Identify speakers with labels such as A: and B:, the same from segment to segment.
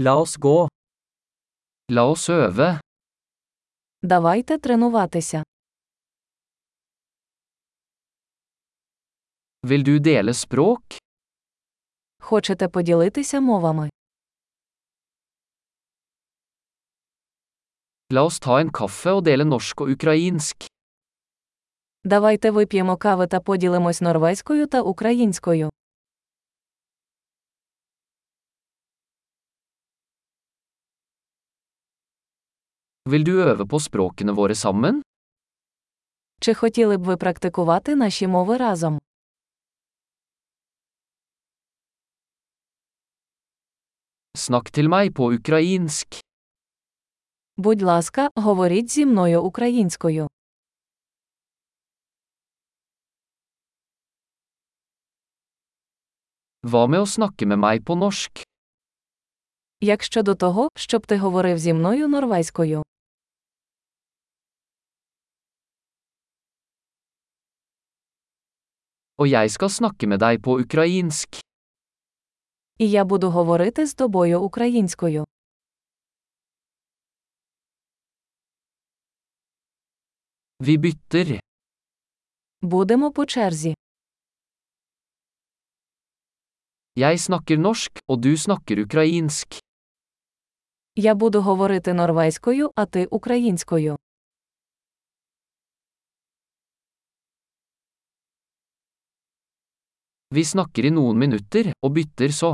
A: La oss gå. La oss øve.
B: Давайте тренуватися.
A: Vil du dele språk?
B: Хочете поділитися мовами?
A: La oss ta en kaffe og dele norsk og ukrainsk.
B: Давайте вип'ємо кави та поділимось норвезькою та українською.
A: Vil du øve på språkene våre sammen?
B: Чи хотіли б ви практикувати наші мови разом?
A: Snakk til meg på ukrainsk.
B: Будь ласка, говоріть зі мною українською.
A: Hva med å snakke med meg på norsk?
B: Як щодо того, щоб ти говорив зі мною норвезькою.
A: Og jeg skal snakke med deg på ukrainsk.
B: І я буду говорити з тобою українською.
A: Vi bytter.
B: Будемо по черзі.
A: Jeg snakker norsk, og du snakker ukrainsk.
B: Я буду говорити норвезькою, а ти українською.
A: Vi snakker i noen minutter, og bytter så.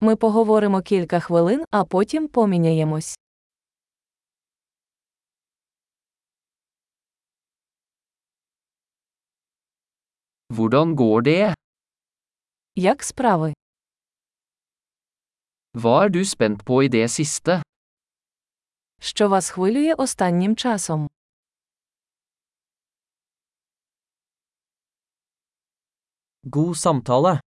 B: Ми поговоримо кілька хвилин, а потім поміняємось.
A: Hvordan går det?
B: Як справи?
A: Hva er du spent på i det siste?
B: Що вас хвилює останнім часом?
A: God samtale.